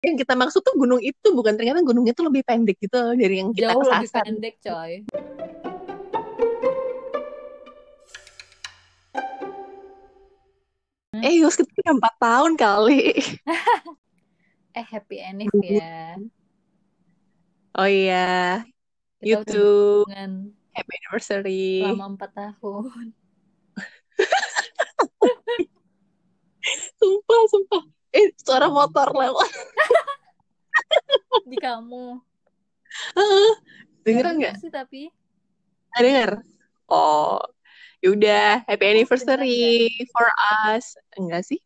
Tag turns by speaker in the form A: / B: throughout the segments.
A: yang kita maksud tuh gunung itu bukan ternyata gunungnya tuh lebih pendek gitu loh dari yang kita
B: Jauh lebih
A: kesasar.
B: pendek coy.
A: Eh, Yus, kita udah empat tahun kali.
B: Eh happy Enif ya.
A: Oh iya, you
B: Kita udah
A: too.
B: berhubungan
A: Happy anniversary.
B: selama empat tahun.
A: Sumpah, sumpah. Eh, suara motor lewat.
B: Di kamu.
A: Dengeran nggak?
B: Bagus sih tapi. Iya.
A: Ah, denger. Oh, yaudah. Happy anniversary for us. Enggak sih?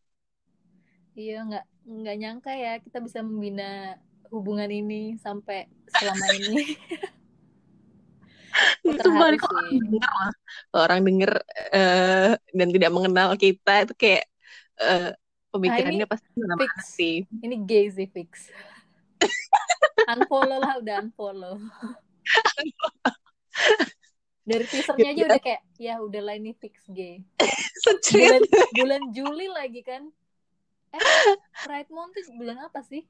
B: Iya nggak nggak nyangka ya kita bisa membina hubungan ini sampai selama ini.
A: Sumpah,
B: Terharu
A: kalau orang
B: sih.
A: denger, lah. Kalau orang denger eh, dan tidak mengenal kita, itu kayak eh, pemikirannya pasti mengenai
B: Nah, fix.
A: sih.
B: Ini gay sih fix. unfollow lah udah unfollow. Dari teasernya
A: Gitu.
B: aja udah kayak ya udahlah ini fix gay.
A: Secret.
B: bulan, bulan Juli lagi kan eh Pride Month tuh bulan apa sih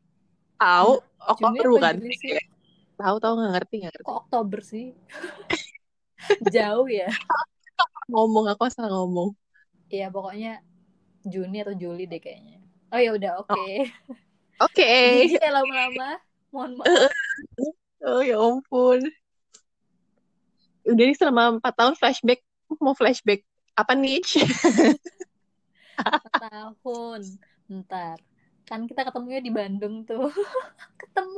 A: Tahu, Oh,
B: Juni
A: Oktober
B: apa
A: bukan?
B: Juli sih
A: kan? Tahu, tahu nggak ngerti, nggak ngerti.
B: kok Oktober sih jauh ya
A: Ngomong, aku asal ngomong.
B: ya pokoknya Juni atau Juli deh kayaknya oh ya udah oke
A: Oke.
B: Jijik ya lama-lama mohon maaf
A: Oh ya ampun. Udah nih selama 4 tahun flashback. Mau flashback apa nih?
B: empat tahun ntar kan kita ketemunya di Bandung tuh ketemu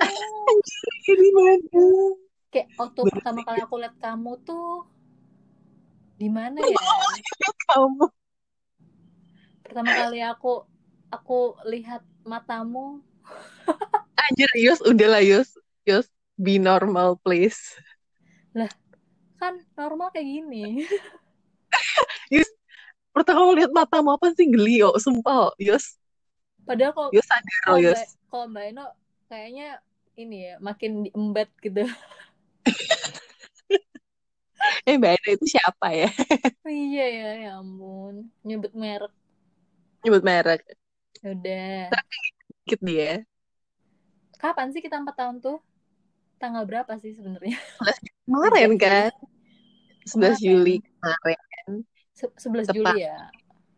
A: Ini Bandung.
B: kayak waktu pertama kali aku lihat kamu tuh di mana ya
A: Kamu.
B: pertama kali aku aku lihat matamu
A: Anjir, Yus. Udahlah, Yus. Yus, be normal, please.
B: kan normal kayak gini
A: Pertama kali lihat matamu apa sih geli, yo. Sumpah, yo. Yus.
B: padahal kalau
A: Yus sadar,
B: kalau
A: yo, Yus.
B: Mbak- kalau mbak Eno kayaknya ini ya makin diembat gitu
A: Eh, Mbak Eda itu siapa ya?
B: iya ya ya ampun nyebut merek Ya
A: Nyebut merek.
B: udah
A: Dikit dia.
B: kapan sih kita empat tahun tuh tanggal berapa sih sebenarnya
A: Kemarin kan? 11
B: Kemarin.
A: Juli kemarin.
B: Se-
A: Tepat.
B: 11 Juli ya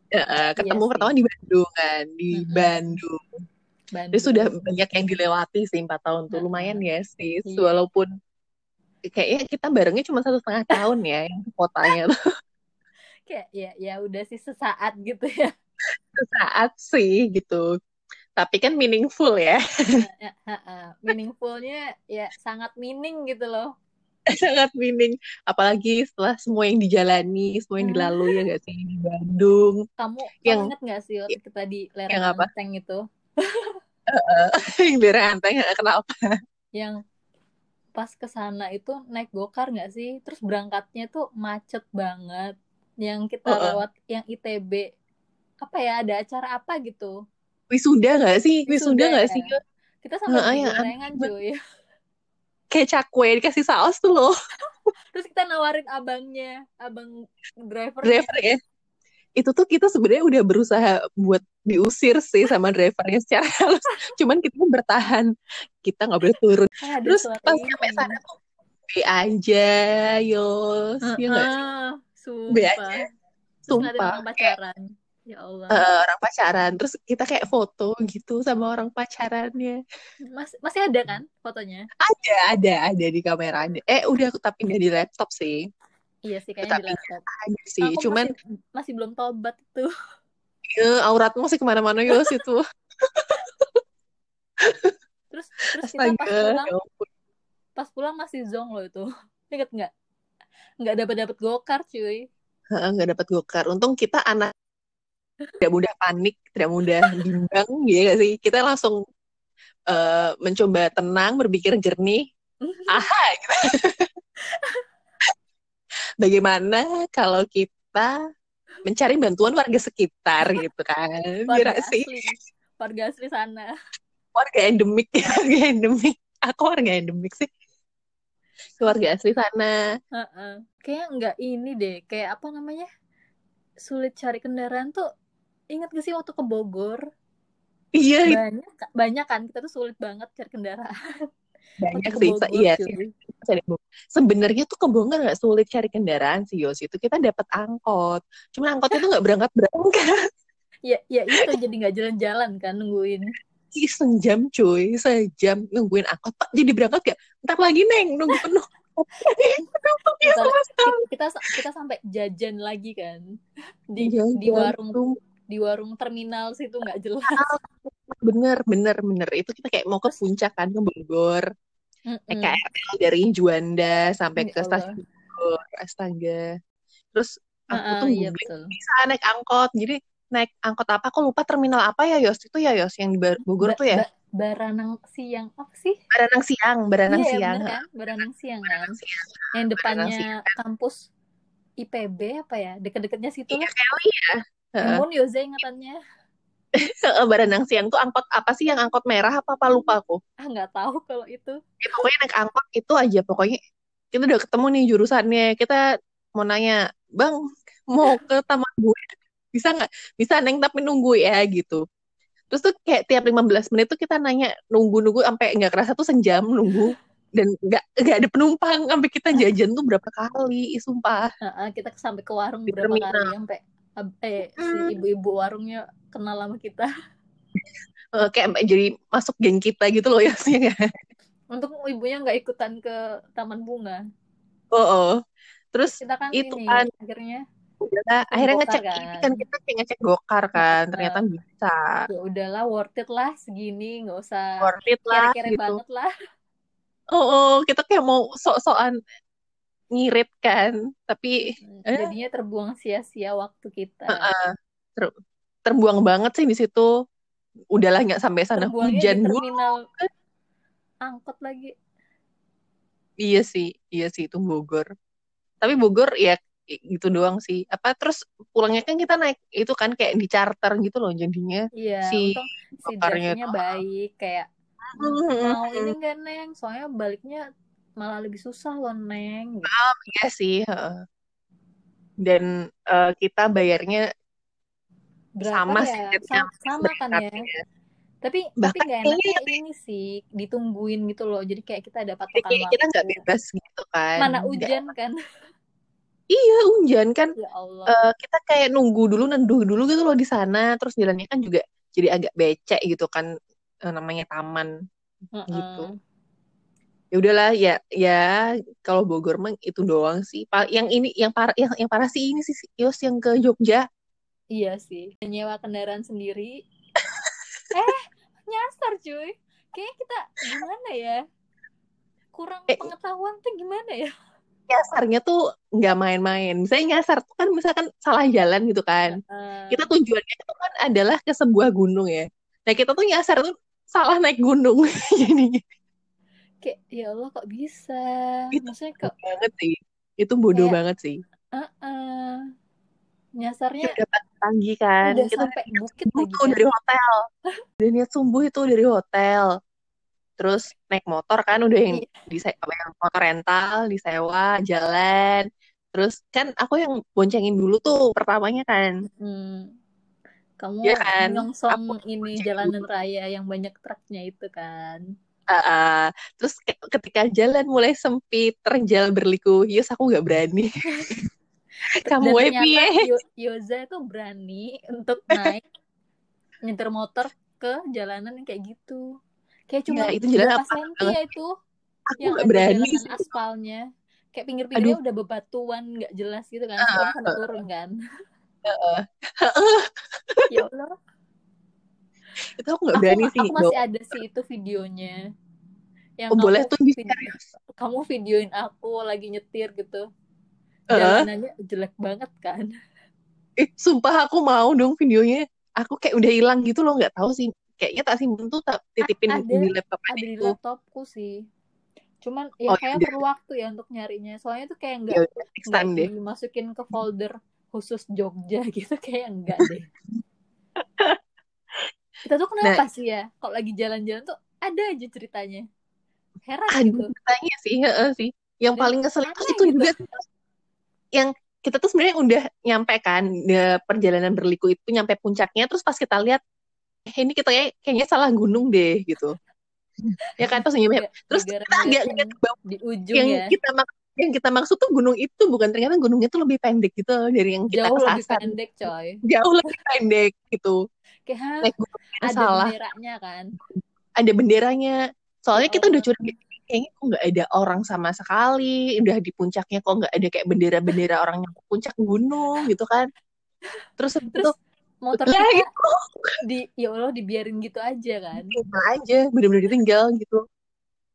A: Eh, eh, ketemu
B: sih.
A: pertama di Bandung kan? Di
B: Mm-mm.
A: Bandung. Jadi
B: Bandung.
A: Ya sudah banyak yang dilewati sih empat tahun tuh
B: Nah,
A: lumayan ya sih
B: Iya.
A: walaupun kayaknya kita barengnya cuma satu setengah tahun ya yang kotanya tuh
B: kayak ya ya udah sih sesaat gitu ya
A: saat sih gitu tapi kan meaningful ya
B: Ya, ha, ha. meaningfulnya ya sangat meaning gitu loh
A: sangat meaning apalagi setelah semua yang dijalani semua yang
B: Hmm.
A: dilalui ya gak sih di Bandung
B: kamu
A: Yang-
B: kamu inget gak sih waktu kita di
A: Yang
B: lereng
A: apa?
B: Anteng itu
A: yang daerah anteng kenapa
B: yang pas ke sana itu naik gokar nggak sih? Terus berangkatnya tuh macet banget. Yang kita
A: Heeh.
B: lewat yang ITB apa ya ada acara apa gitu.
A: wisuda gak sih wisuda
B: Wisuda
A: gak
B: ya.
A: sih
B: Kita
A: Heeh,
B: sampai
A: ya,
B: beli
A: yang
B: gorengan cuy.
A: kayak cakwe dikasih saus tuh loh
B: Terus kita nawarin abangnya, abang driver.
A: driver ya itu tuh kita sebenarnya udah berusaha buat diusir sih sama drivernya secara halus cuman kita kan bertahan kita nggak boleh turun
B: Eh, ada
A: terus
B: suara
A: pas
B: ini.
A: sampai sana tuh be aja yos ya nggak sih?
B: Heeh,
A: Be
B: Ah, sumpah. Terus ngeliatin
A: sumpah
B: orang pacaran. Ya Allah.
A: Eh, orang pacaran terus kita kayak foto gitu sama orang pacarannya
B: Mas- masih ada kan fotonya?
A: ada ada ada di kamera ada eh udah tapi udah di laptop sih
B: Iya sih kayaknya di
A: Tapi-
B: laptop.
A: ada sih
B: Aku
A: cuman
B: masih, masih belum tobat tuh.
A: eh, auratmu sih kemana-mana yos itu
B: terus terus kita pas
A: astaga
B: pulang
A: ya ampun.
B: pas pulang masih zong loh itu inget nggak nggak dapat dapat gokar cuy
A: Heeh, nggak dapat gokar. Untung kita anak tidak mudah panik, tidak mudah bimbang, gitu gak sih? Kita langsung eh, mencoba tenang, berpikir jernih.
B: Mhm.
A: Aha, gitu. Bagaimana kalau kita mencari bantuan warga sekitar gitu kan?
B: warga
A: Biar sih
B: asli warga asli sana
A: warga endemik, warga endemik. Aku warga endemik sih. Keluarga asli sana.
B: Heeh. kayak nggak ini deh kayak apa namanya sulit cari kendaraan tuh inget gak sih waktu ke Bogor
A: Iya, itu
B: banyak banyak kan kita tuh sulit banget cari kendaraan
A: banyak
B: untuk
A: sih.
B: ke
A: Sa-
B: Bogor
A: Iya, sih.
B: cuy.
A: Cari Bogor. Sebenarnya tuh ke Bogor nggak sulit cari kendaraan sih, Yos. Itu kita dapat angkot. Cuman angkotnya tuh nggak berangkat-berangkat.
B: ya ya itu jadi nggak jalan-jalan kan nungguin
A: Ih, sejam cuy, sejam nungguin angkot. Pak, jadi berangkat gak? Ntar lagi, Neng. Nunggu penuh. Iya,
B: Ntar
A: sama sekali.
B: kita kita, sa- kita sampai jajan lagi kan di
A: Iya,
B: di
A: jalan
B: warung
A: tuh.
B: di warung terminal situ nggak jelas
A: Bener, bener, bener. Itu kita kayak mau ke puncak kan, ke Bogor. Eh,
B: Mm-mm.
A: PKRL dari Juanda sampai
B: Hmm. Ya
A: ke
B: Allah.
A: stasiun Bogor. Astaga. Terus aku
B: Ah,
A: tuh
B: ah, iya
A: googling,
B: betul
A: bisa naik angkot. Jadi naik angkot apa? Aku lupa terminal apa ya, Yos? Itu ya, Yos? Yang di Ba- Bogor
B: Ba-
A: tuh ya?
B: ba- baranang siang apa sih
A: Baranang Siang, Baranang
B: iya ya
A: Siang.
B: bener kan baranang siang kan
A: Baranang Siang,
B: yang
A: Baranang
B: depannya
A: Siang.
B: kampus IPB apa ya deket-deketnya situ
A: Iya
B: lah
A: kali ya. Heeh.
B: namun Yoza ingatannya
A: Heeh, Baranang Siang tuh angkot apa sih yang angkot merah apa apa lupa aku.
B: ah nggak tahu kalau itu
A: Ya, pokoknya naik angkot itu aja pokoknya kita udah ketemu nih jurusannya. Kita mau nanya, "Bang, mau ke Taman Gue? Bisa nggak? Bisa Neng tapi nunggu ya gitu." Terus tuh kayak tiap 15 menit tuh kita nanya nunggu-nunggu sampai nggak kerasa tuh senjam nunggu dan nggak nggak ada penumpang sampai kita jajan tuh berapa kali, ih, sumpah
B: Ah, ah, kita sampai ke warung
A: di
B: berapa kali
A: terminal.
B: sampai ab- eh si
A: Hmm.
B: ibu-ibu warungnya kenal sama kita
A: Eh, kayak sampai jadi masuk geng kita gitu loh ya sih
B: untung ibunya nggak ikutan ke taman bunga
A: Oh, oh. Terus
B: terus kita kan
A: itu
B: ini
A: kan
B: akhirnya
A: udah
B: ngecek
A: akhirnya
B: gokar Iya,
A: ngecek ini
B: kan
A: kan kita kayak ngecek gokar kan
B: Heeh.
A: ternyata bisa
B: ya udahlah worth it lah segini nggak usah
A: worth it lah
B: kere-kere
A: gitu.
B: banget lah
A: Oh, oh, kita kayak mau sok-sokan ngirit kan, tapi
B: Mm-mm.
A: eh,
B: jadinya terbuang sia-sia waktu kita
A: eh, ter- terbuang banget sih di situ. Udahlah nggak sampai sana
B: terbuangnya di
A: hujan mulu.
B: terminal angkot lagi
A: Iya sih, iya sih itu Bogor. Tapi Bogor ya gitu doang sih. Apa terus pulangnya kan kita naik itu kan kayak di charter gitu loh jadinya
B: iya
A: si
B: untung si
A: gokarnya
B: drivernya
A: itu.
B: baik kayak "M- mau ini nggak neng soalnya baliknya malah lebih susah loh neng gitu
A: Iya sih. heeh. Dan eh, kita bayarnya
B: berapa
A: sama
B: ya
A: sih kayak yang
B: sama, sama kan ya
A: berangkatnya.
B: tapi tapi
A: Bahkan iya.
B: nggak
A: kayaknya
B: enaknya ini sih ditungguin gitu loh jadi kayak kita ada
A: jadi
B: patokan
A: kayak kita
B: waktu
A: nggak bebas gitu kan.
B: mana
A: Nggak,
B: hujan kan
A: iya hujan kan
B: ya Allah
A: eh, kita kayak nunggu dulu, nenduh dulu gitu loh di sana. Terus jalannya kan juga jadi agak becek gitu kan eh, namanya taman gitu.
B: Heeh.
A: Ya udahlah ya ya kalau Bogor mah itu doang sih. Pa- Yang ini yang parah yang, yang parah sih ini sih Yos yang ke Jogja.
B: Iya sih, nyewa kendaraan sendiri. Eh, nyasar cuy. Kayaknya kita gimana ya? Kurang
A: Eh,
B: pengetahuan tuh gimana ya?
A: nyasarnya tuh nggak main-main. Misalnya nyasar tuh kan misalkan salah jalan gitu kan. Kita
B: Heeh.
A: tujuannya itu kan adalah ke sebuah gunung ya. Nah kita tuh nyasar tuh salah naik gunung. Jadi
B: kayak ya Allah kok bisa?
A: itu
B: Maksudnya
A: bodoh
B: kok
A: banget sih. Itu bodoh
B: kayak
A: banget sih.
B: heeh.
A: Kita
B: Nyasarnya
A: udah pagi Iya kan.
B: Iya. udah
A: Kita udah
B: sampai bukit
A: subuh
B: lagi
A: tuh
B: kan?
A: dari hotel. Udah niat subuh itu dari hotel. Terus naik motor kan udah yang
B: Iya.
A: dise- apa yang motor rental disewa jalan. Terus kan aku yang boncengin dulu tuh pertamanya kan.
B: Hmm, kamu
A: Ya kan.
B: menyongsong
A: Aku yang
B: ini
A: boncengin
B: jalanan
A: dulu.
B: raya yang banyak truknya itu kan?
A: Ah, ah. terus ke- ketika jalan mulai sempit, terjal berliku, yes aku nggak berani.
B: Ter-
A: Kamu
B: Dan
A: wae
B: ternyata
A: piye?
B: Yo- Yoza itu berani untuk naik nyetir motor ke jalanan yang kayak gitu. Kayak
A: Iya,
B: cuman
A: itu jalan
B: berapa
A: apa
B: senti
A: banget.
B: ya itu
A: Aku
B: yang
A: nggak
B: ada
A: berani
B: jalanan
A: sih.
B: aspalnya. Kayak pinggir-pinggirnya
A: Aduh,
B: udah bebatuan nggak jelas gitu kan.
A: ah,
B: Sepeda sampai
A: ah,
B: turun kan.
A: ah.
B: Ya Allah.
A: itu aku nggak
B: Aku
A: berani
B: ma-
A: sih.
B: aku
A: Bawa.
B: masih ada sih itu videonya. Yang
A: Oh,
B: kamu
A: boleh tuh di
B: vid- kamu videoin aku lagi nyetir gitu.
A: Heeh.
B: Jalanannya jelek banget kan.
A: Eh, sumpah aku mau dong videonya. Aku kayak udah hilang gitu loh, nggak tahu sih. Kayaknya tak simpen tuh tak
B: A-
A: titipin
B: ada
A: di laptop aja
B: ada di
A: itu.
B: laptopku sih. Cuman
A: Iya. Oh
B: ya
A: ya
B: kayak
A: udah,
B: perlu waktu ya untuk nyarinya. Soalnya tuh kayak
A: ya
B: nggak
A: udah, next
B: nggak
A: time deh.
B: dimasukin ke folder khusus Jogja gitu kayak enggak deh. Kita tuh
A: Nah,
B: kenapa sih ya? Kalau lagi jalan-jalan tuh ada aja ceritanya. Heran
A: aduh
B: gitu
A: ceritanya sih, heeh sih. Yang
B: dan
A: paling ngeselin tuh
B: aneh
A: itu
B: gitu.
A: juga yang kita tuh sebenarnya udah nyampe kan de- perjalanan berliku itu nyampe puncaknya terus pas kita lihat "Eh, ini kita kayak- kayaknya salah gunung deh gitu ya kan terus senyum
B: Nggak-
A: terus
B: negara
A: kita agak
B: Iya, yang
A: lihat ke bawah
B: di ujung
A: yang
B: ya
A: kita mak yang kita maksud tuh gunung itu bukan ternyata gunungnya tuh lebih pendek gitu loh dari yang kita
B: jauh lebih
A: kesasar
B: pendek coy
A: jauh lebih pendek gitu
B: kayak "Hah,
A: naik gunung
B: ada
A: salah
B: benderanya kan
A: ada benderanya soalnya
B: Ya
A: kita udah
B: Allah.
A: curiga kayaknya kok nggak ada orang sama sekali udah di puncaknya kok nggak ada kayak bendera-bendera orang yang ke puncak gunung gitu kan terus habis itu
B: terus motor
A: ya
B: kita
A: gitu
B: di ya Allah dibiarin gitu aja kan
A: tinggal aja bener-bener ditinggal gitu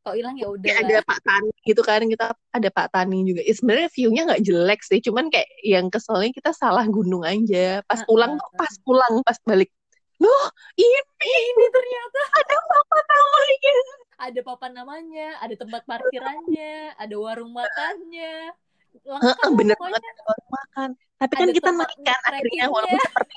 B: kalau hilang ya udah
A: kayak ada Pak Tani gitu kan kita ada Pak Tani juga ya, sebenarnya view-nya nggak jelek sih cuman kayak yang keselnya kita salah gunung aja pas
B: Ah,
A: pulang
B: ah,
A: tuh pas pulang pas balik loh ini
B: ini ternyata
A: ada apa namanya
B: ada papan namanya ada tempat parkirannya ada warung makannya lengkap
A: Heeh,
B: lah
A: Ah, bener banget
B: pokoknya
A: ada warung makan tapi kan
B: ada
A: kita
B: tempat
A: naik kan akhirnya
B: trekkingnya
A: walaupun seperti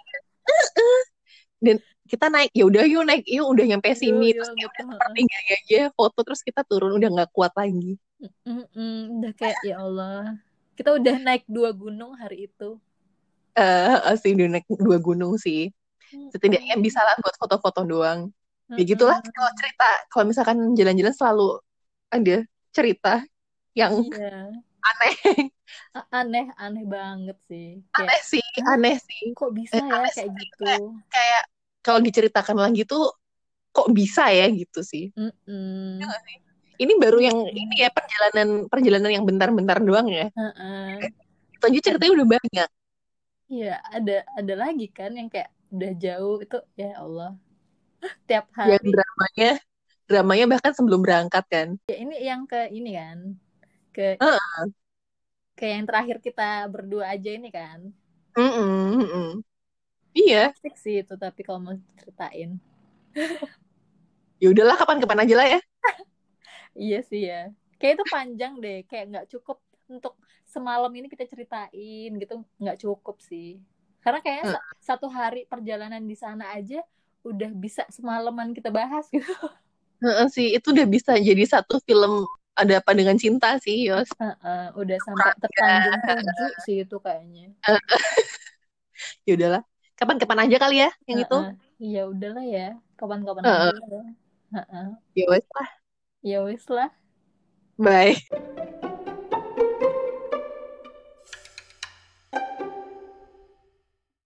A: dan kita naik ya udah yuk naik yuk udah nyampe
B: yuk
A: sini
B: yuk
A: terus ya
B: gitu
A: udah
B: heeh.
A: sepertiga aja foto terus kita turun udah nggak kuat lagi
B: Mm-mm, udah kayak ya Allah kita udah naik dua gunung hari itu
A: eh sih udah naik dua gunung sih setidaknya
B: Mm-mm.
A: bisa lah buat foto-foto doang ya gitulah
B: Mm-mm.
A: kalau cerita kalau misalkan jalan-jalan selalu ada cerita yang
B: iya
A: aneh
B: A- aneh aneh banget sih kayak
A: aneh sih
B: "Hah,
A: aneh sih
B: kok bisa
A: Eh,
B: ya
A: aneh sih
B: kayak gitu
A: kayak, kayak kalau diceritakan lagi tuh kok bisa ya gitu sih
B: Mm-mm.
A: ini baru yang ini
B: Mm-mm.
A: ya perjalanan perjalanan yang bentar-bentar doang ya
B: Heeh.
A: itu aja
B: Ad-
A: ceritanya udah banyak
B: Iya, ada ada lagi kan yang kayak udah jauh itu ya Allah. Tiap
A: yang
B: hari
A: dramanya dramanya bahkan sebelum berangkat kan
B: ya ini yang ke ini kan. Ke
A: Heeh.
B: ke yang terakhir kita berdua aja ini kan.
A: Mm-mm, mm-mm. iya
B: Asik sih itu tapi kalau mau ceritain.
A: ya udahlah kapan-kapan aja lah ya
B: Iya sih ya. Kayak itu panjang deh, kayak nggak cukup untuk semalam ini kita ceritain gitu, nggak cukup sih. Karena kayaknya
A: Heeh.
B: sa- satu hari perjalanan di sana aja udah bisa semalaman kita bahas gitu.
A: Heeh sih, itu udah bisa jadi satu film ada apa dengan cinta sih, Yos.
B: Heeh, udah sampai tersanjung
A: ya.
B: tujuh sih itu kayaknya.
A: Eh, ya udahlah. Kapan-kapan aja kali ya yang itu.
B: Heeh. Ya udahlah ya, kapan-kapan
A: Heeh,
B: aja lah. Heeh.
A: ya wes lah.
B: Ya wis lah.
A: Bye.